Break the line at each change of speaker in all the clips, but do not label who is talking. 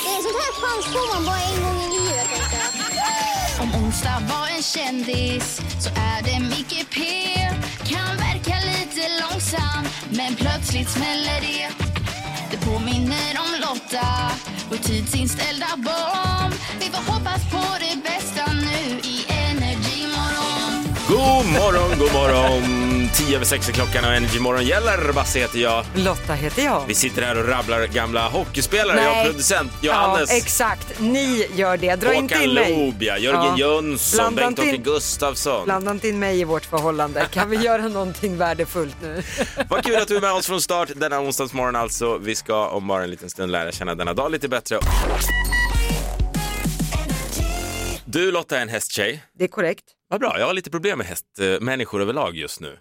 chans får man bara en gång i livet. tänkte jag.
Om onsdag var en kändis så är det Micke P. Kan verka lite långsam men plötsligt smäller det. Det påminner om Lotta och tidsinställda barn. Vi får hoppas på det bästa nu i Energy morgon.
God morgon, god morgon! 10 över 6 är klockan och Energy Morgon gäller. Basse heter jag.
Lotta heter jag.
Vi sitter här och rabblar gamla hockeyspelare.
Nej.
Jag är producent Johannes.
Ja, exakt. Ni gör det. Dra inte
Håkan
in mig.
Lob, ja, Jörgen
Ja.
Jönsson,
Blanda inte
Bengt-Åke
in-
Gustafsson.
Blanda inte in mig i vårt förhållande. Kan vi göra någonting värdefullt nu?
Vad kul att du är med oss från start denna onsdagsmorgon alltså. Vi ska om bara en liten stund lära känna denna dag lite bättre. Du Lotta är en hästtjej.
Det är korrekt.
Vad bra, jag har lite problem med hästmänniskor överlag just nu.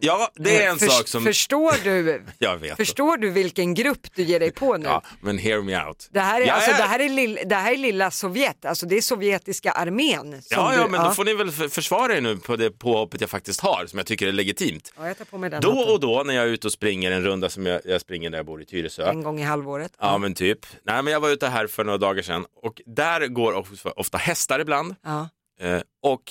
Ja, det är en
Förs-
sak som
Förstår du,
jag vet.
förstår du vilken grupp du ger dig på nu?
Ja, men hear me out.
Det här, är,
Jag
alltså, det, här är lill, det här är lilla Sovjet, alltså det är sovjetiska armén. Som
Ja,
du,
ja, men då får ni väl f- försvara er nu på det påhoppet jag faktiskt har, som jag tycker är legitimt.
ja, jag tar på mig den
Då
hatten.
och då när jag är ute och springer en runda som jag, jag springer där jag bor i Tyresö.
En gång i halvåret.
Ja men typ. Nej men jag var ute här för några dagar sedan och där går ofta, ofta hästar ibland.
Ja.
Eh, och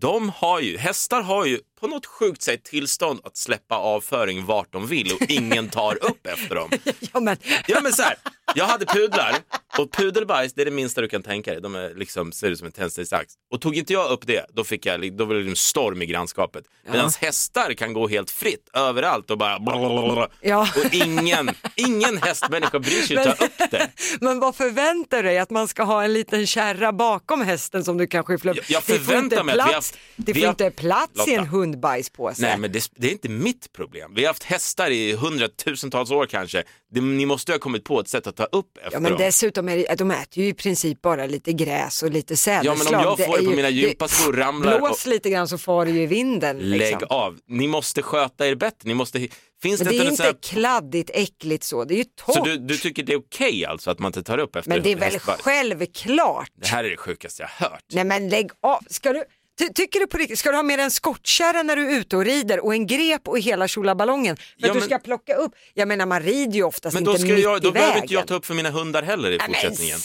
de har ju, hästar har ju på något sjukt sätt tillstånd att släppa av föring vart de vill och ingen tar upp efter dem.
Ja, men,
Ja men så här, jag hade pudlar och pudelbajs det är det minsta du kan tänka dig. De är liksom, ser ut som en tändsticksax. Och tog inte jag upp det, då fick jag, li- då blev det en storm i grannskapet. Medan hästar kan gå helt fritt överallt och bara blablabla.
Ja.
Och ingen, ingen hästmänniska bryr sig att ta upp det.
men vad förväntar du dig? Att man ska ha en liten kärra bakom hästen som du kan skyffla upp?
Jag- jag
Det får
förväntar
inte
mig att vi har
plats-
haft-
Det
vi
får
har-
inte plats i en
Lotta.
hundbajspåse.
Nej men det, det är inte mitt problem. Vi har haft hästar i hundratusentals år kanske. Det, ni måste ju ha kommit på ett sätt att ta upp efter
Ja men
dem.
dessutom är det, de äter ju i princip bara lite gräs och lite
Ja
sädesslag.
men om jag
är
får det på
ju-
mina gympaskor ramlar och
Blås lite grann så far det ju i vinden.
lägg
liksom.
av. Ni måste sköta er bättre. Ni måste, finns
Men
det
det är
något så här-
inte kladdigt, äckligt så, det är ju
Så
torrt.
du, du tycker det är okej alltså att man inte tar upp efter
Men det är väl
hästbajs?
självklart.
Det här är det sjukaste jag har hört.
Nej men lägg av, ska du, ty, tycker du på riktigt, ska du ha med dig en skottkärra när du är ute och rider och en grep och hela tjolaballongen för
Ja,
att du
men-
ska plocka upp? Jag menar man rider ju oftast
Men
inte
då, ska
mitt
jag, då
i vägen.
behöver inte jag ta upp för mina hundar heller i
Nej, men
fortsättningen.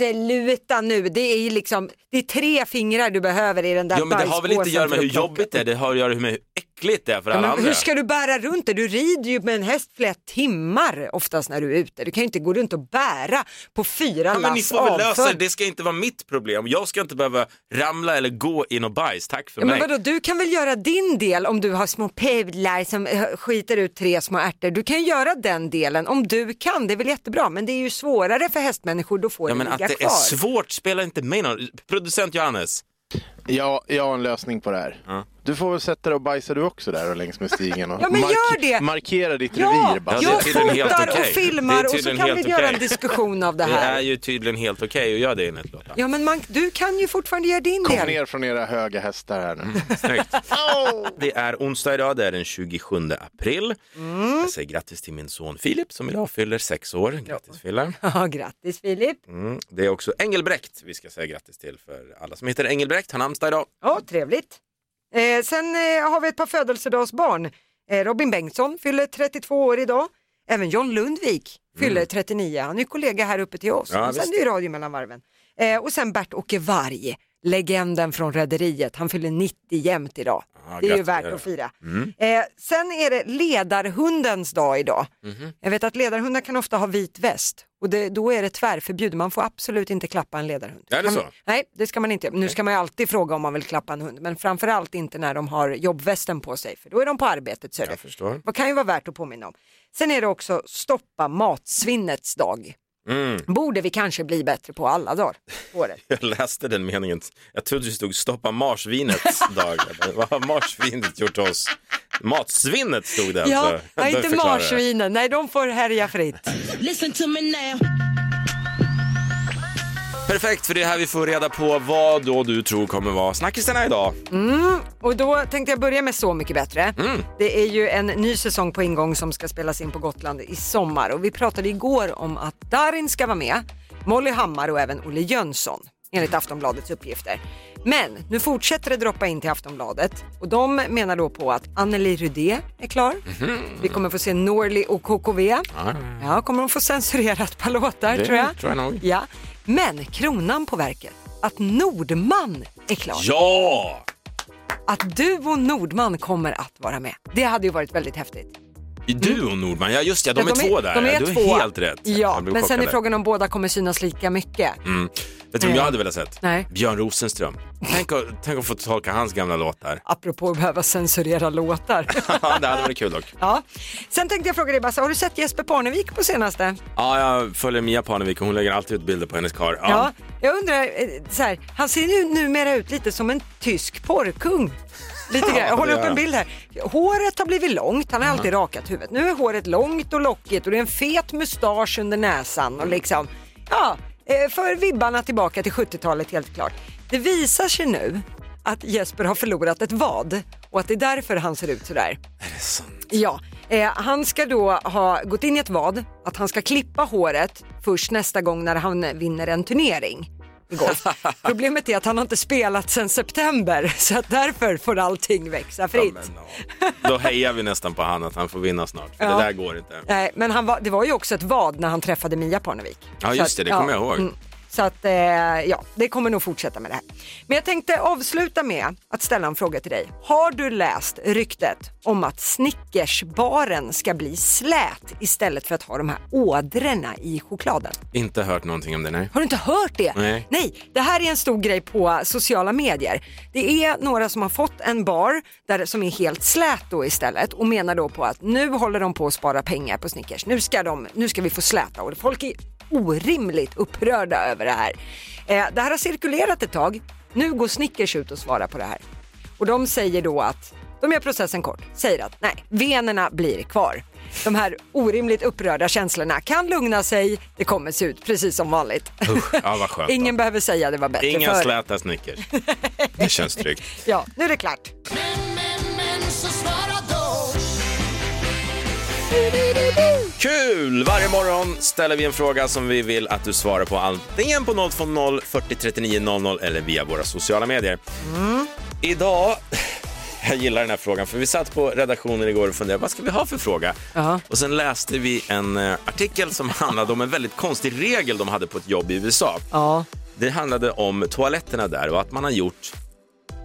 sluta nu, det är ju liksom, det är tre fingrar du behöver i den där
Ja, men det har väl inte att
bajspåsen
göra
för
med hur
plocka
jobbigt det är,
upp.
det har att göra med hur äckligt det är för
Ja,
alla
men
andra.
hur ska du bära runt det? Du rider ju med en häst flera timmar oftast när du är ute. Du kan ju inte gå runt och bära på fyra
ja, men ni
lass
får väl lösa det,
avföring.
det ska inte vara mitt problem. Jag ska inte behöva ramla eller gå i något bajs, tack för
Ja, men
mig.
vadå, du kan väl göra din del om du har små pudlar som eh, skiter ut tre små ärtor. Du kan göra den delen om du kan, det är väl jättebra. Men det är ju svårare för hästmänniskor, då får
Ja,
det
men att
ligga
det
kvar.
är svårt spelar inte mig någon Producent Johannes,
Ja, jag har en lösning på det här. Du får väl sätta dig och bajsa du också där och längs med stigen och
Ja, men gör det!
markera ditt
Ja,
revir. Basse.
det är
jag
tydligen helt
fotar och
okej. Det
filmar
är
och så
tydligen
kan vi
helt
göra
okej.
en diskussion av det
det är
här.
ju tydligen helt okej att göra det enligt Lotta.
Ja men man, du kan ju fortfarande göra din
Kom
del.
ner från era höga hästar här nu.
Snyggt. Det är onsdag idag, det är den 27 april. Jag säger grattis till min son Filip som idag fyller sex år. Grattis Fille.
Ja, grattis Filip.
Mm. Det är också Engelbrekt vi ska säga grattis till för alla som heter Engelbrekt, har namnsdag idag.
Ja, trevligt. Eh, sen eh, har vi ett par födelsedagsbarn. Eh, Robin Bengtsson fyller 32 år idag. Även John Lundvik fyller 39. Han är ju kollega här uppe till oss.
Mm. Ja,
han
visst.
sänder ju radio mellan varven. Eh, och sen Bert-Åke Varg, legenden från Rederiet. Han fyller 90 jämt idag.
Ja,
det är ju
grattis. Mm.
värt att fira. Eh, sen är det ledarhundens dag idag.
Mhm.
Jag vet att ledarhundar kan ofta ha vit väst och det, då är det tvärförbjudet. Man får absolut inte klappa en ledarhund.
Är det
Kan-
så?
Nej, det ska man inte. Nu ska man ju alltid fråga om man vill klappa en hund, men framförallt inte när de har jobbvästen på sig, för då är de på arbetet. Så är det.
Jag förstår.
Vad kan ju vara värt att påminna om. Sen är det också stoppa matsvinnets dag.
Mm.
Borde vi kanske bli bättre på alla dagar på året.
Jag läste den meningen, jag trodde det stod stoppa marsvinets dag. Vad har marsvinet gjort oss? Matsvinnet stod det
Ja,
alltså.
nej,
Det
inte
förklarar det.
marsvinen, nej de får härja fritt.
Perfekt, för det är här vi får reda på vad då du tror kommer vara snackisarna idag.
Och då tänkte jag börja med Så mycket bättre. Det är ju en ny säsong på ingång som ska spelas in på Gotland i sommar och vi pratade igår om att Darin ska vara med, Molly Hammar och även Olle Jönsson enligt Aftonbladets uppgifter. Men nu fortsätter det droppa in till Aftonbladet och de menar då på att Anneli Rudé är klar. Vi kommer få se Norli och KKV. Ja, kommer de få censurerat ett par låtar
Det
tror jag.
tror jag nog.
Ja. Men kronan på verket, att Nordman är klar.
Ja!
Att du och Nordman kommer att vara med. Det hade ju varit väldigt häftigt.
I duon Nordman, ja just ja, de
Mm. Ja,
är, två där.
De är
ja, du
två.
är helt rätt.
Ja,
Jag blev
men sen är
chockad där.
frågan om båda kommer synas lika mycket.
Mm. Vet du vem jag hade velat sett?
Nej.
Björn Rosenström. Tänk att, tänk att få tolka hans gamla låtar.
Apropå att behöva censurera låtar.
Ja, det hade varit kul dock.
ja. Sen tänkte jag fråga dig Basse, har du sett Jesper Parnevik på senaste?
Ja, jag följer Mia Parnevik och hon lägger alltid ut bilder på hennes kar. Ja.
Ja, jag undrar, eh, så här, han ser ju numera ut lite som en tysk porrkung. Lite grann. Jag
det
håller
gör
upp en
han. Mm.
bild här. Håret har blivit långt, han har alltid rakat huvudet. Nu är håret långt och lockigt och det är en fet mustasch under näsan och liksom, ja, eh, för vibbarna tillbaka till 70-talet helt klart. Det visar sig nu att Jesper har förlorat ett vad och att det är därför han ser ut sådär. Ja, eh, han ska då ha gått in i ett vad att han ska klippa håret först nästa gång när han vinner en turnering. i golf. Problemet är att han har inte spelat sedan september så att därför får allting växa fritt.
men, ja. Då hejar vi nästan på han att han får vinna snart. För
Ja.
Det där går inte.
Nej, men han var, det var ju också ett vad när han träffade Mia Parnevik.
Ja,
Så
just
att-
det, det kommer jag ihåg.
Så att, eh, ja, det kommer nog fortsätta med det här. Men jag tänkte avsluta med att ställa en fråga till dig. Har du läst ryktet om att Snickersbaren ska bli slät istället för att ha de här ådrorna i chokladen?
Inte hört någonting om det, nej.
Har du inte hört det?
Nej.
det här är en stor grej på sociala medier. Det är några som har fått en bar där, som är helt slät då istället och menar då på att nu håller de på att spara pengar på Snickers. Nu ska, de, nu ska vi få släta och folk är orimligt upprörda över det här. Eh, det här har cirkulerat ett tag. Nu går Snickers ut och svarar på det här. Och de säger då att de gör processen kort, säger att nej, venerna blir kvar. De här orimligt upprörda känslorna kan lugna sig, det kommer se ut precis som vanligt.
Usch, ja, vad skönt då.
Ingen behöver säga det var bättre
Inga
förr.
släta Snickers. Det känns tryggt.
Ja, nu är det klart.
Men, men, men, så svara då.
Kul! Varje morgon ställer vi en fråga som vi vill att du svarar på antingen på 020 40 39 00 eller via våra sociala medier. Idag, jag gillar den här frågan för vi satt på redaktionen igår och funderade vad ska vi ha för fråga?
Ja.
Och sen läste vi en eh, artikel som handlade om en väldigt konstig regel de hade på ett jobb i USA.
Ja.
Det handlade om toaletterna där och att man har gjort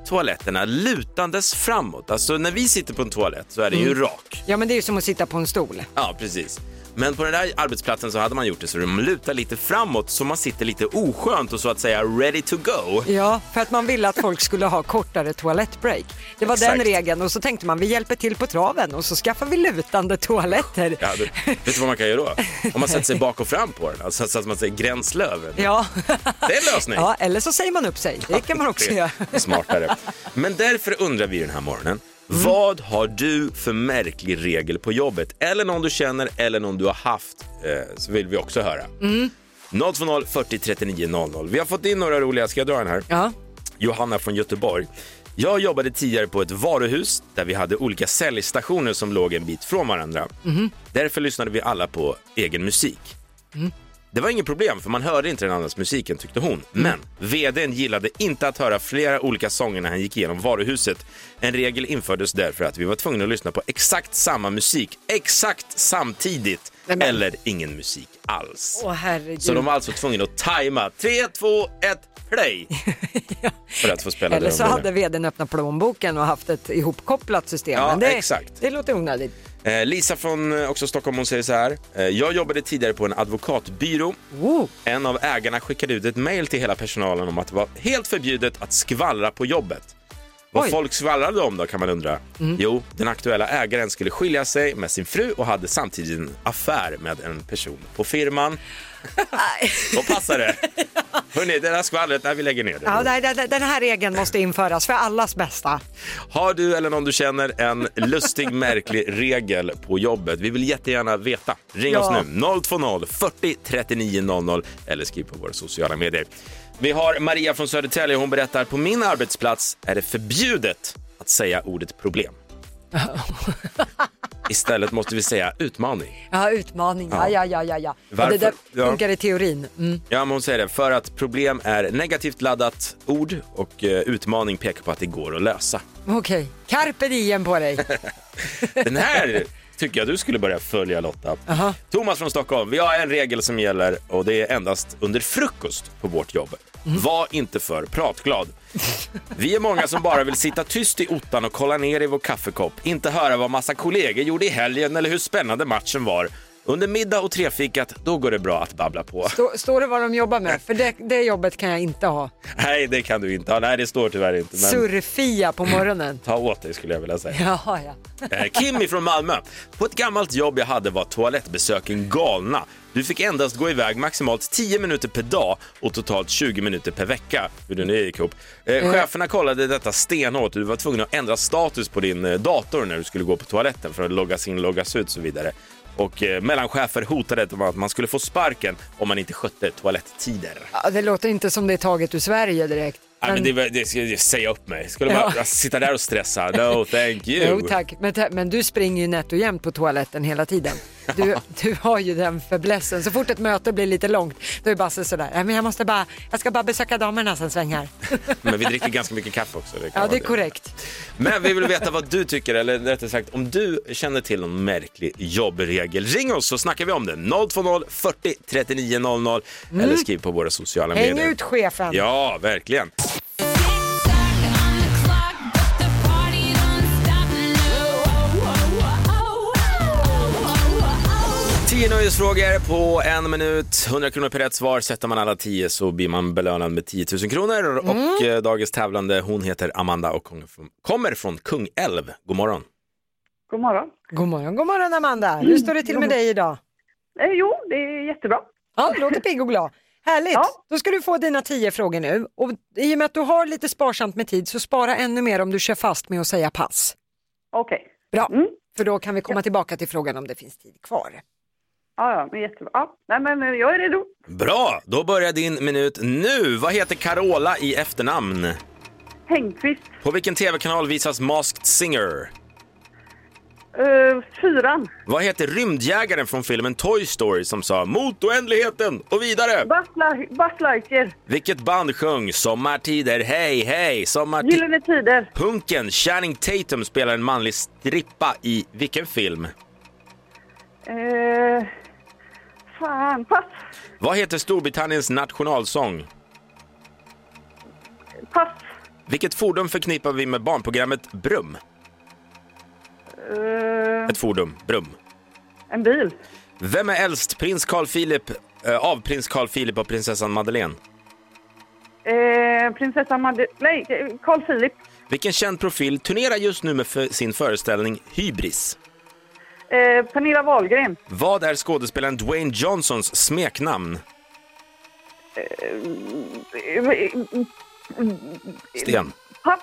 toaletterna lutandes framåt. Alltså när vi sitter på en toalett så är den ju rak.
ja, men det är ju som att sitta på en stol.
Ja, precis. Men på den där arbetsplatsen så hade man gjort det så de lutar lite framåt så man sitter lite oskönt och så att säga ready to go.
Ja, för att man ville att folk skulle ha kortare toalettbreak. Det var den
Exakt.
regeln och så tänkte man vi hjälper till på traven och så skaffar vi lutande toaletter.
Ja, du, vet du vad man kan göra då? Om man sätter sig bak och fram på den, alltså så att man säger gränsle över den.
Ja.
Det är en lösning.
ja, eller så säger man upp sig. Det kan man också
Det
göra.
är Smartare. Men därför undrar vi den här morgonen,
Mm.
vad har du för märklig regel på jobbet? Eller någon du känner eller någon du har haft, eh, så vill vi också höra.
Mm.
020 40 39 00. Vi har fått in några roliga, ska jag dra den här?
Ja.
Johanna från Göteborg. Jag jobbade tidigare på ett varuhus där vi hade olika säljstationer som låg en bit från varandra. Därför lyssnade vi alla på egen musik. Det var inget problem för man hörde inte den andras musiken tyckte hon. Men vdn gillade inte att höra flera olika sånger när han gick igenom varuhuset. En regel infördes därför att vi var tvungna att lyssna på exakt samma musik exakt samtidigt eller ingen musik alls.
Åh herregud.
Så de var alltså tvungna att tajma 3, 2, 1, play för att få spela
Eller
det
så
de ville.
hade vdn öppnat plånboken och haft ett ihopkopplat system.
Ja,
Men det,
exakt.
det låter onödigt.
Eh, Lisa från eh, också Stockholm hon säger så här. eh, Jag jobbade tidigare på en advokatbyrå.
Oh.
En av ägarna skickade ut ett mejl till hela personalen om att det var helt förbjudet att skvallra på jobbet. Vad
Oj. Mm.
folk skvallrade om då kan man undra. Jo, den aktuella ägaren skulle skilja sig med sin fru och hade samtidigt en affär med en person på firman. Då passar det. Hörrni, det där skvallret, nej, vi lägger ner det.
Ja, nej, den- den här regeln måste införas för allas bästa.
Har du eller någon du känner en lustig, märklig regel på jobbet? Vi vill jättegärna veta. Ring
Ja.
oss nu, 020 40 39 00 eller skriv på våra sociala medier. Vi har Maria från Södertälje. Hon berättar på min arbetsplats är det förbjudet att säga ordet problem. Istället måste vi säga utmaning.
Ja, utmaning. Ja, ja, ja, ja. ja. ja det
Varför?
där
Ja.
funkar i teorin. Mm.
Ja, men hon säger det för att problem är negativt laddat ord och eh, utmaning pekar på att det går att lösa.
Okej, carpe diem på dig.
Den här tycker jag du skulle börja följa Lotta.
Aha.
Thomas från Stockholm, vi har en regel som gäller och det är endast under frukost på vårt jobb. Var inte för pratglad. Vi är många som bara vill sitta tyst i ottan och kolla ner i vår kaffekopp, inte höra vad massa kollegor gjorde i helgen eller hur spännande matchen var. Under middag och trefikat, då går det bra att babbla på.
Står, står det vad de jobbar med? För det, det jobbet kan jag inte ha.
Nej, det kan du inte. Ja, nej, det står tyvärr inte. Men
Surfia på morgonen.
ta åt dig skulle jag vilja säga.
Jaha, ja.
Eh, Kimmy från Malmö. På ett gammalt jobb jag hade var toalettbesöken galna. Du fick endast gå iväg maximalt 10 minuter per dag och totalt 20 minuter per vecka. Hur det nu gick ihop. Eh, cheferna kollade detta stenhårt och du var tvungen att ändra status på din eh, dator när du skulle gå på toaletten för att loggas in, loggas ut och så vidare. Och eh, mellanchefer hotade om att man skulle få sparken om man inte skötte toalettider.
Ja, Det låter inte som det är taget ur Sverige direkt.
Nej, men det, var- det, ska jag säga upp mig. Skulle bara
Ja.
sitta där och stressa. No, thank you.
Jo tack, men, ta- men du springer ju nätt och jämnt på toaletten hela tiden. Du, du har ju den fäblessen. Så fort ett möte blir lite långt, då är Basse sådär, "Nej, men jag, måste bara, jag ska bara besöka damerna sen svänger.
Men vi dricker ganska mycket kaffe också. Det kan
Ja,
vara
det är korrekt.
Men vi vill veta vad du tycker, eller rättare sagt om du känner till någon märklig jobbregel. Ring oss så snackar vi om det. 020 40 39 00 eller skriv på våra sociala
Mm. Häng
medier.
ut chefen.
Ja, verkligen. Tio nöjesfrågor på en minut. 100 kronor per rätt svar. Sätter man alla tio så blir man belönad med 10 000 kronor.
Mm.
Och eh, dagens tävlande, hon heter Amanda och kommer från- kommer från Kungälv. God morgon.
God morgon.
God morgon, god morgon Amanda. Hur står det till med dig idag?
Eh, jo, det är jättebra.
Ja, låter pigg och glad. Härligt!
Ja.
Då ska du få dina tio frågor nu. Och I och med att du har lite sparsamt med tid så spara ännu mer om du kör fast med att säga pass.
Okej.
Bra, för då kan vi komma tillbaka till frågan om det finns tid kvar.
Ja, ja, men jättebra. Ja, nej, men eh, jag är redo.
Bra, då börjar din minut nu. Vad heter Carola i efternamn?
Hängqvist,
På vilken tv-kanal visas Masked Singer?
eh, fyran.
Vad heter rymdjägaren från filmen Toy Story som sa mot oändligheten och vidare?
Buzz Li- Buzz Lightyear,
Vilket band sjöng Sommartider, hej, hej, sommartider?
Gyllene Tider,
Punken Channing Tatum spelar en manlig strippa i vilken film?
eh, fan, pass,
Vad heter Storbritanniens nationalsång?
pass,
Vilket fordon förknippar vi med barnprogrammet Brum?
eh,
Ett fordon, Brum.
en bil.
Vem är äldst, prins Carl Philip, eh, av prins Carl Philip och prinsessan Madeleine?
Eh, prinsessa Madde... Nej, eh, Carl Philip.
Vilken känd profil turnerar just nu med för sin föreställning Hybris?
Eh, Pernilla Wahlgren.
Vad är skådespelaren Dwayne Johnsons smeknamn?
Eh, eh,
Sten.
pass.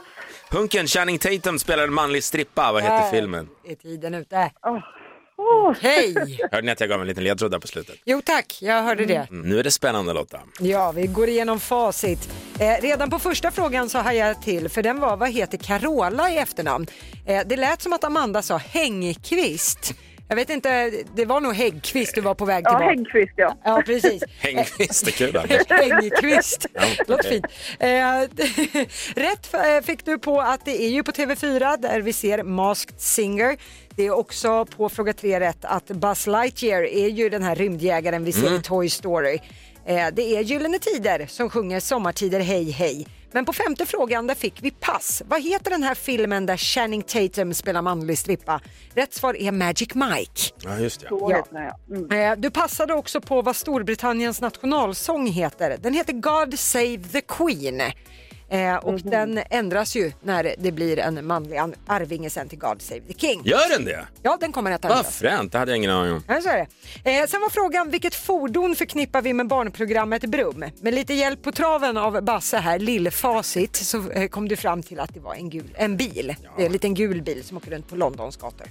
Punken Channing Tatum spelar en manlig strippa. Vad
Äh.
heter filmen?
Är tiden ute?
Ah. Åh,
Hej!
Hörde ni att jag gav en liten ledtråd där på slutet?
Jo tack, jag hörde det.
Mm, Nu är det spännande Lotta.
Ja, vi går igenom facit. Eh, redan på första frågan så hajade jag till, för den var vad heter Carola i efternamn? Eh, det lät som att Amanda sa Hängqvist. Jag vet inte, det var nog Häggkvist du var på väg
ja,
tillbaka.
Häggqvist, ja.
Ja, precis. Äh.
Hängkvist är kul Anders.
Hängkvist. Låter
okej.
fint. Eh, Rätt eh, fick du på att det är ju på TV4 där vi ser Masked Singer. Det är också på fråga tre rätt att Buzz Lightyear är ju den här rymdjägaren vi ser i Toy Story. Eh, Det är Gyllene Tider som sjunger Sommartider hej hej. Men på femte frågan där fick vi pass. Vad heter den här filmen där Channing Tatum spelar manlig strippa? Rätt svar är Magic Mike.
Ja, just det.
Så
Ja.
heter den, ja. Mm.
Eh, Du passade också på vad Storbritanniens nationalsång heter. Den heter God Save the Queen. Eh, och den ändras ju när det blir en manlig an- arvinge sen till God Save the King.
Gör den det?
Ja, den kommer att
Vad
ändras.
fränt, det hade jag ingen aning om.
Ja, så är det. Eh, sen var frågan vilket fordon förknippar vi med barnprogrammet Brum? Med lite hjälp på traven av Basse här, lillfacit, så eh, kom du fram till att det var en, gul, en bil. Det är en liten gul bil som åker runt på Londons gator.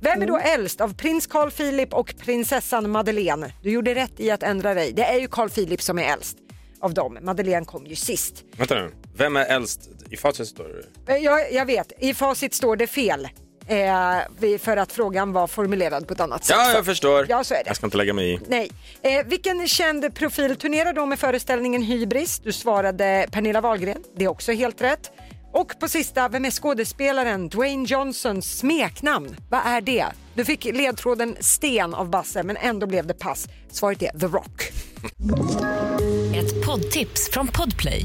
Vem är då
Mm.
äldst av prins Carl Philip och prinsessan Madeleine? Du gjorde rätt i att ändra dig. Det är ju Carl Philip som är äldst av dem. Madeleine kom ju sist.
Vänta nu, vem är äldst i facit står det?
Eh, Jag, jag vet, i facit står det fel. Eh, vi- för att frågan var formulerad på ett annat sätt.
Ja, jag förstår.
Ja, så är det.
Jag ska inte lägga mig i.
Nej. Eh, vilken känd profil turnerar då med föreställningen Hybris? Du svarade Pernilla Wahlgren, det är också helt rätt. Och på sista, vem är skådespelaren Dwayne Johnsons smeknamn? Vad är det? Du fick ledtråden sten av Basse men ändå blev det pass. Svaret är The Rock.
Ett poddtips från Podplay.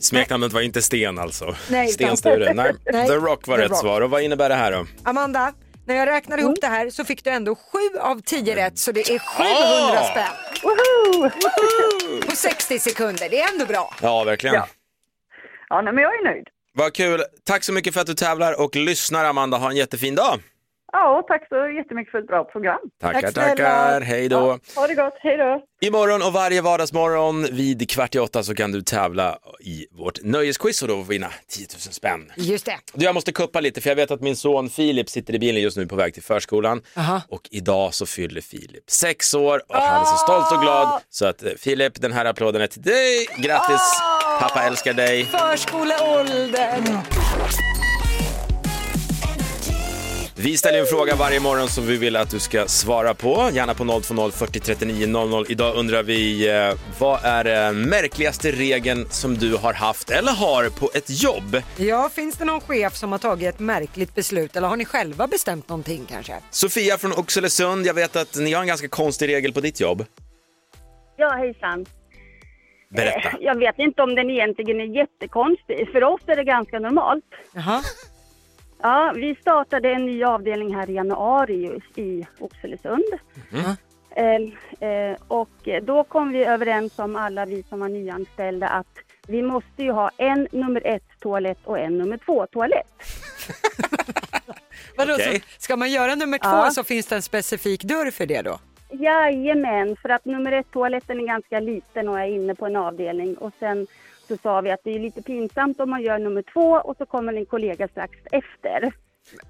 Smeknamnet var inte Sten alltså.
Nej, utan-
Stensture. Nej.
Nej,
The Rock var
The
rätt
Rock.
svar. Och vad innebär det här då?
Amanda, när jag räknar ihop det här så fick du ändå 7 av 10 rätt så det är 700
Ah!
spänn
Woho!
på 60 sekunder. Det är ändå bra.
Ja, verkligen.
Ja. Ja, nej, men jag är nöjd.
Vad kul. Tack så mycket för att du tävlar och lyssnar Amanda. Ha en jättefin dag.
Ja, och tack så jättemycket för ett bra program.
Tackar,
Tack snälla.
tackar. Hej då.
Ja, ha det gott, hej då!
Imorgon och varje vardagsmorgon vid kvart i åtta så kan du tävla i vårt nöjesquiz och då vinna 10 000 spänn.
Just det.
Du, jag måste kuppa lite för jag vet att min son Filip sitter i bilen just nu på väg till förskolan.
Aha.
Och idag så fyller Filip sex år och han är så stolt och
Ah!
glad. Så att eh, Filip, den här applåden är till dig. Grattis! Pappa älskar dig.
Ah! Förskoleåldern.
Vi ställer en fråga varje morgon som vi vill att du ska svara på. Gärna på 020 40 39 00. Idag undrar vi, eh, vad är eh, märkligaste regeln som du har haft eller har på ett jobb?
Ja, finns det någon chef som har tagit ett märkligt beslut eller har ni själva bestämt någonting kanske?
Sofia från Oxelösund, jag vet att ni har en ganska konstig regel på ditt jobb.
Ja, hejsan.
Berätta.
Jag vet inte om den egentligen är jättekonstig. För oss är det ganska normalt.
Jaha.
Ja, vi startade en ny avdelning här i januari ju i Oxelösund. Eh, eh, och då kom vi överens om alla vi som var nyanställda att vi måste ju ha en nummer ett toalett och en nummer två toalett.
Vadå,
Okej.
så ska man göra nummer två
Ja.
så finns det en specifik dörr för det då?
Jajamän, för att nummer ett toaletten är ganska liten och är inne på en avdelning. Och sen så sa vi att det är lite pinsamt om man gör nummer två och så kommer en kollega strax efter.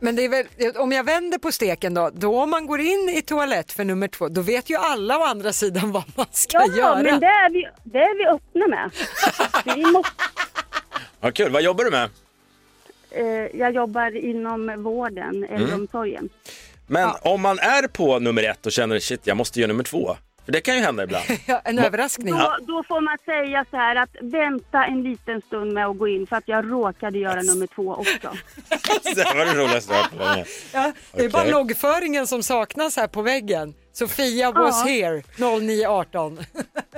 Men det är väl, om jag vänder på steken då, då om man går in i toalett för nummer två, då vet ju alla å andra sidan vad man ska
Ja,
göra.
men det är, vi, det är vi öppna med. Vi måste,
Vad kul, vad jobbar du med?
eh, jag jobbar inom vården, äldreomsorgen.
Men om man är på nummer ett och känner shit, jag måste göra nummer två. För det kan ju hända ibland.
Ja, en överraskning.
Då, då får man säga så här att vänta en liten stund med att gå in för att jag råkade göra nummer två också.
det var det roligaste jag har hört på länge.
Ja, det är bara
Okej.
loggföringen som saknas här på väggen. Sofia was
Ja.
here 0918.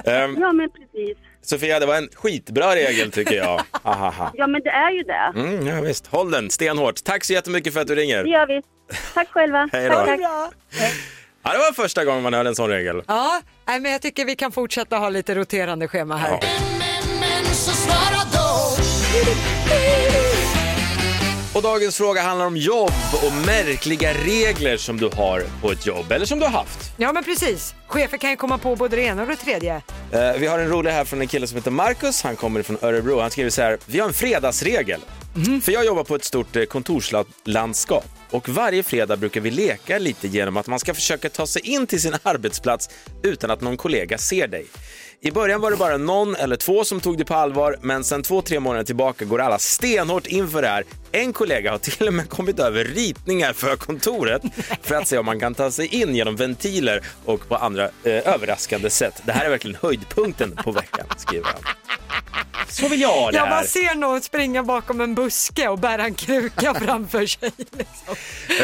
Ehm,
Ja men precis.
Sofia, det var en skitbra regel tycker jag. Ahaha.
Ja men det är ju det.
Mm, ja, visst. Håll den stenhårt. Tack så jättemycket för att du ringer.
Det gör vi. Tack själva.
Hej då.
Tack, tack.
Ja, det var första gången man hörde en sån regel.
Ja, nej, men jag tycker vi kan fortsätta ha lite roterande schema här.
Och dagens fråga handlar om jobb och märkliga regler som du har på ett jobb, eller som du har haft.
Ja, men precis. Chefer kan ju komma på både det ena och det tredje.
Eh, vi har en rolig här från en kille som heter Marcus, han kommer från Örebro. Han skriver så här, vi har en fredagsregel. Mm. För jag jobbar på ett stort eh, kontorslandskap och varje fredag brukar vi leka lite genom att man ska försöka ta sig in till sin arbetsplats utan att någon kollega ser dig. I början var det bara någon eller två som tog det på allvar, men sen två, tre månader tillbaka går alla stenhårt inför det här. En kollega har till och med kommit över ritningar för kontoret för att se om man kan ta sig in genom ventiler och på andra eh, överraskande sätt. Det här är verkligen höjdpunkten på veckan, skriver han. Så vill jag ha det
Jag bara
här.
ser någon springa bakom en buske och bära en kruka framför sig. Liksom.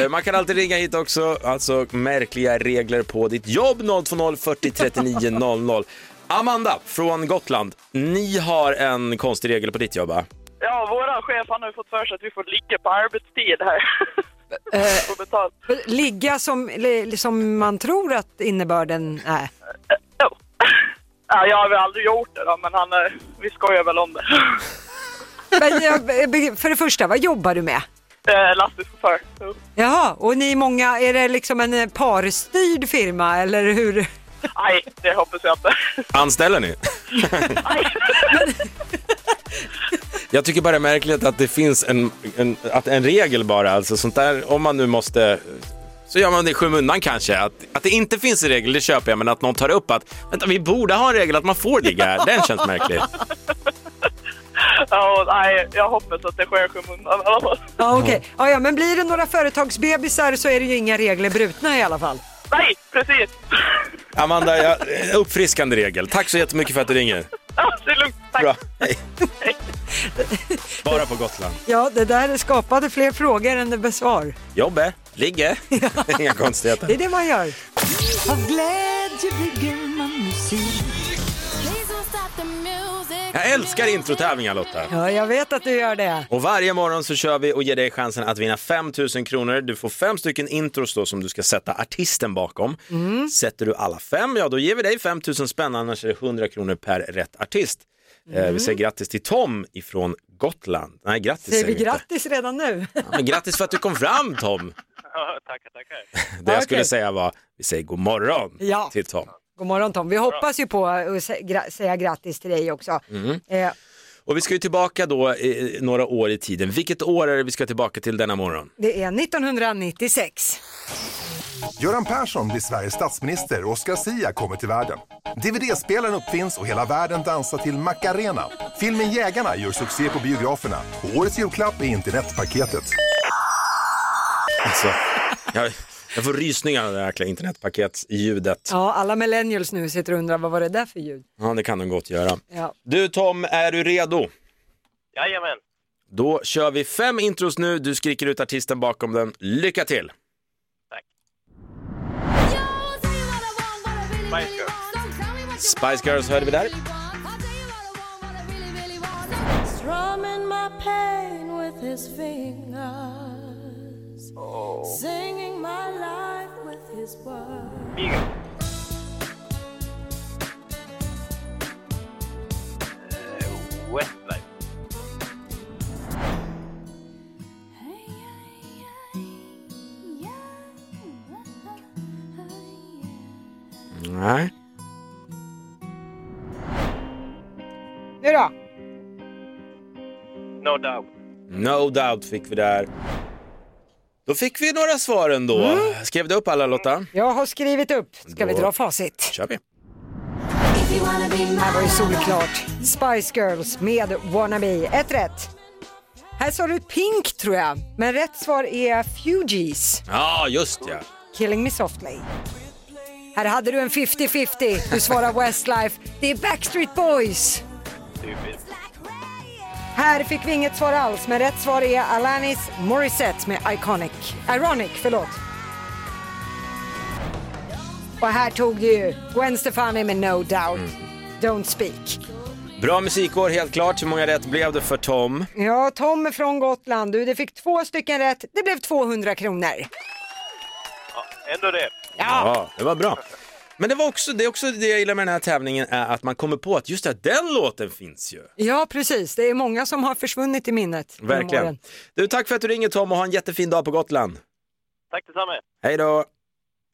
Eh, Man kan alltid ringa hit också, alltså märkliga regler på ditt jobb 020 40 39 00. Amanda från Gotland, ni har en konstig regel på ditt jobb va?
Ja, våran chef han har ju fått för sig att vi får ligga på arbetstid här. Får betalt.
Ligga som, li- som man tror att innebörden är.
Jo. Ja, jag har väl aldrig gjort det då, men han, eh, vi skojar väl om det.
Men jag, be- för det första, vad jobbar du med?
Eh, Lastbilschaufför. Jo.
Jaha, och ni är många, är det liksom en eh, parstyrd firma eller hur?
Nej, det hoppas jag inte.
Anställer ni? Jag tycker bara det är märkligt att det finns en, en, att en regel bara, alltså sånt där, om man nu måste så gör man det i skymundan kanske. Att, att det inte finns en regel, det köper jag, men att någon tar upp att vänta, vi borde ha en regel att man får ligga här, den känns märklig.
Ja, nej, jag hoppas att det sker i skymundan i alla fall.
Ja, okej. Ja, ja, men blir det några företagsbebisar så är det ju inga regler brutna i alla fall.
Nej, precis.
Amanda, jag, uppfriskande regel. Tack så jättemycket för att du ringer.
Ja, det är lugnt. Tack.
Bra, hej. Bara på Gotland.
Ja, det där skapade fler frågor än det besvar.
Jobbe, ligge, inga
Det är
konstigheter.
det man gör.
Av glädje bygger man musik.
Jag älskar introtävlingar Lotta.
Ja, jag vet att du gör det.
Och varje morgon så kör vi och ger dig chansen att vinna 5 000 kronor. Du får fem stycken intros då som du ska sätta artisten bakom.
Mm.
Sätter du alla fem, ja då ger vi dig 5 000 spänn, annars är det 100 kronor per rätt artist.
Mm.
Eh, vi säger grattis till Tom ifrån Gotland. Nej, grattis
Säger vi
inte.
grattis redan nu?
Ja, men grattis för att du kom fram Tom.
Ja, tackar, tackar.
Det jag skulle
Okej.
säga var, vi säger god morgon
Ja.
till Tom.
God morgon Tom. Vi hoppas ju på att sä- gra- säga grattis till dig också.
Mm.
Eh,
Och vi ska ju tillbaka då eh, några år i tiden. Vilket år är det vi ska tillbaka till denna morgon?
det är 1996.
Göran Persson blir Sveriges statsminister och Oscar Sia kommer till världen. DVD-spelaren uppfinns och hela världen dansar till Macarena. Filmen Jägarna gör succé på biograferna och årets julklapp är internetpaketet.
Alltså, jag, jag får rysningar av det här internetpaketsljudet.
Ja, alla millennials nu sitter och undrar vad var det där för ljud?
Ja, det kan de gott göra.
Ja.
Du Tom, är du redo?
Jajamän.
Då kör vi fem intros nu. Du skriker ut artisten bakom den. Lycka till!
Spice Girls.
Spice Girls hörde vi där.
Strumming my pain with his fingers. Singing my life with his words.
Westlife.
Nej.
Nu då?
No doubt.
No doubt fick vi där. Då fick vi några svar ändå. Skrev du upp alla Lotta?
Jag har skrivit upp. Ska vi
Då-
dra facit?
kör vi.
Det här var ju solklart. Spice Girls med Wannabe. Ett rätt. Här sa du Pink tror jag, men rätt svar är Fugees.
Ja, just ja.
Killing Me Softly. Här hade du en 50-50. Du svarar Westlife. Det är Backstreet Boys.
Stupid.
Här fick vi inget svar alls, men rätt svar är Alanis Morissette med Iconic. Ironic, förlåt. Och här tog du ju Gwen Stefani med No Doubt, Don't Speak.
Bra musikår helt klart. Hur många rätt blev det för Tom?
Ja, Tom är från Gotland. Du, det fick två stycken rätt. Det blev 200 kronor.
Ja, ändå det.
Ja, det var bra. Men det var också det, är också det jag gillar med den här tävlingen är att man kommer på att just det, den låten finns ju.
Ja, precis. Det är många som har försvunnit i minnet. genom åren.
Verkligen. Du, tack för att du ringer Tom och ha en jättefin dag på Gotland.
Tack detsamma.
Hej då!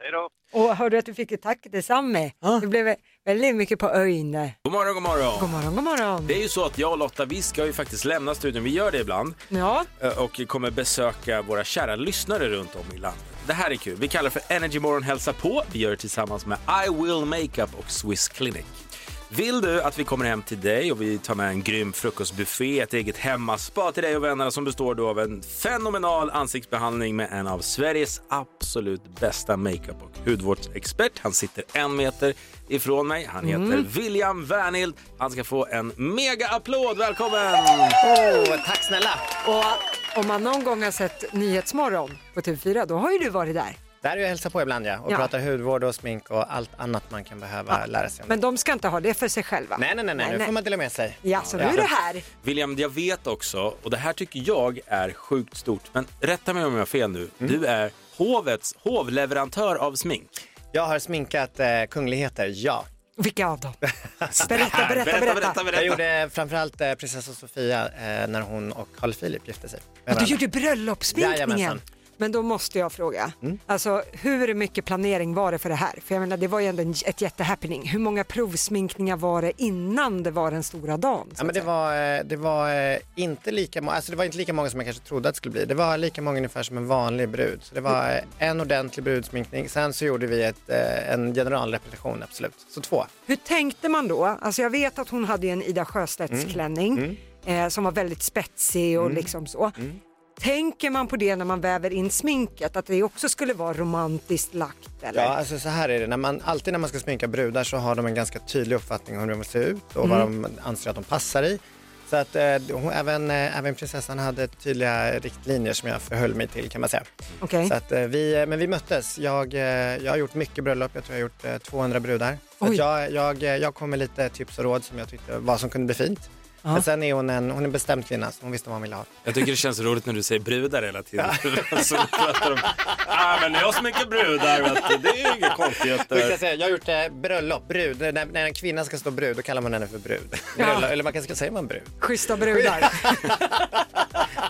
Hej då.
Och hörde du att du fick ett tack detsamma? Det blev väldigt mycket på öjne.
God morgon, god morgon!
God morgon, god morgon.
Det är ju så att jag och Lotta, vi ska ju faktiskt lämna studion, vi gör det ibland,
Ja,
eh, och kommer besöka våra kära lyssnare runt om i landet. Det här är kul. Vi kallar det för Energy Morgon Hälsa på. Vi gör det tillsammans med I Will Makeup och Swiss Clinic. Vill du att vi kommer hem till dig och vi tar med en grym frukostbuffé, ett eget hemmaspa till dig och vännerna som består då av en fenomenal ansiktsbehandling med en av Sveriges absolut bästa makeup och hudvårdsexpert. Han sitter en meter ifrån mig. Han heter
Mm.
William Wernhild. Han ska få en mega applåd. Välkommen!
tack snälla!
och om man någon gång har sett Nyhetsmorgon på TV4, då har ju du varit där.
Där är jag och hälsar på ibland ja, och
Ja.
pratar hudvård och smink och allt annat man kan behöva lära sig om.
Men de ska inte ha det för sig själva.
Nej, nej, nej, nej, nu får man dela med sig.
Ja, så nu är du här.
William, jag vet också, och det här tycker jag är sjukt stort, men rätta mig om jag har fel nu.
Mm.
Du är hovets hovleverantör av smink.
Jag har sminkat eh, kungligheter, ja.
Vilka av dem?
Berätta,
berätta, berätta, berätta.
Jag gjorde framförallt eh, prinsessan Sofia eh, när hon och Carl Philip gifte sig.
Ja, du gjorde bröllopssminkningen.
Jajamensan. Mm.
Men då måste jag fråga, alltså hur mycket planering var det för det här? För jag menar det var ju ändå en- ett jättehappening. Hur många provsminkningar var det innan det var den stora dagen?
Ja, men det, var, eh, det, var, eh, inte lika, må- alltså det var inte lika många som jag kanske trodde att det skulle bli. Det var lika många ungefär som en vanlig brud. Så det var eh, en ordentlig brudsminkning. Sen så gjorde vi ett, eh, en generalrepetition, absolut. Så två.
Hur tänkte man då? Alltså jag vet att hon hade ju en Ida Sjöstedts
Mm.
klänning
Mm.
eh, som var väldigt spetsig och
Mm.
liksom så. Tänker man på det när man väver in sminket, att det också skulle vara romantiskt lagt? Eller?
Ja, alltså så här är det. När man, alltid när man ska sminka brudar så har de en ganska tydlig uppfattning om hur de vill se ut och vad
Mm.
de anser att de passar i. Så att eh, hon, även, eh, även prinsessan hade tydliga riktlinjer som jag förhöll mig till kan man säga.
Okej.
Så att, eh, vi, eh, men vi möttes. Jag, eh, jag har gjort mycket bröllop. Jag tror jag har gjort eh, 200 brudar. Så att
Oj.
jag, jag, eh, jag kom med lite tips och råd som jag tyckte vad som kunde bli fint.
Ja.
Men sen är hon en, hon är en bestämd kvinna så hon visste vad hon ville ha.
Jag tycker det känns roligt när du säger brudar hela tiden. Så pratar de, ah, men jag sminkar brudar, vet du. det är inga
Då ska jag,
konstigheter.
säga, jag har gjort eh, bröllop, brud. När, när en kvinna ska stå brud, då kallar man henne för brud. Bröllop, Eller man kanske ska säga man brud.
Schyssta brudar.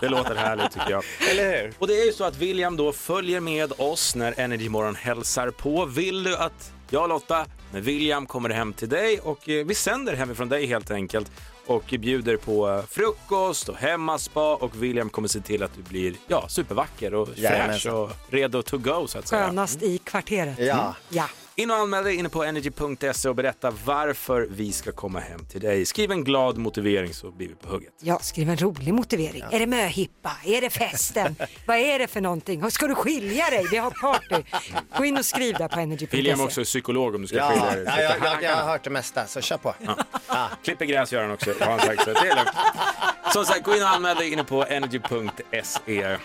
Det låter härligt tycker jag.
Eller hur?
Och det är ju så att William då följer med oss när Energy Morgon hälsar på. Vill du att jag Lotta, när William kommer hem till dig och eh, vi sänder hemifrån dig helt enkelt och bjuder på eh, frukost och hemmaspa och William kommer se till att du blir ja, supervacker och fräsch
Jajamensan.
och redo to go så att säga.
Skönast i kvarteret.
Ja.
ja.
In och anmäl dig inne på energy.se och berätta varför vi ska komma hem till dig. Skriv en glad motivering så blir vi på hugget.
Ja, skriv en rolig motivering. Är det möhippa? Är det festen? Vad är det för någonting? Ska du skilja dig? Vi har party. Gå in och skriv där på energy.se.
William också är psykolog om du ska
Ja,
skilja dig.
ja, jag, jag, jag har hört det mesta, så kör på.
Ja. Klipper gräs gör han också, har han sagt. Så det är lugnt. Som sagt, gå in och anmäl dig inne på energy.se.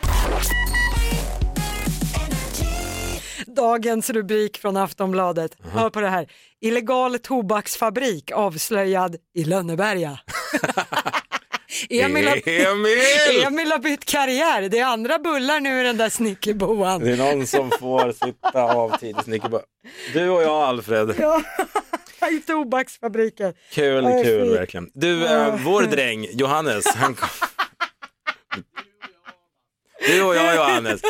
Dagens rubrik från Aftonbladet. Hör på det här. Illegal tobaksfabrik avslöjad i Lönneberga. Emil, har,
Emil!
Emil har bytt karriär. Det är andra bullar nu i den där snickerboan.
Det är någon som får sitta av tid i snickerboa. Du och jag, Alfred.
Ja, i tobaksfabriken.
Kul,
Ja,
kul
fint.
verkligen. Du, eh, vår dräng Johannes, han kom... Du och jag Johannes,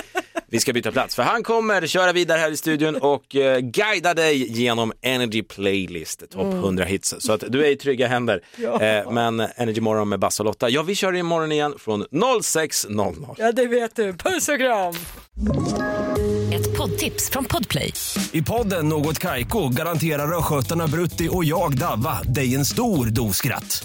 vi ska byta plats för han kommer köra vidare här i studion och eh, guida dig genom Energy Playlist, topp
Mm.
100 hits. Så att du är i trygga händer.
Ja.
Eh, men Energy Morgon med Basse och Lotta, ja vi kör imorgon igen från 06.00.
Ja, det vet du. Puss och kram!
Ett poddtips från Podplay.
I podden Något Kaiko garanterar östgötarna Brutti och jag, Davva, dig en stor dos skratt.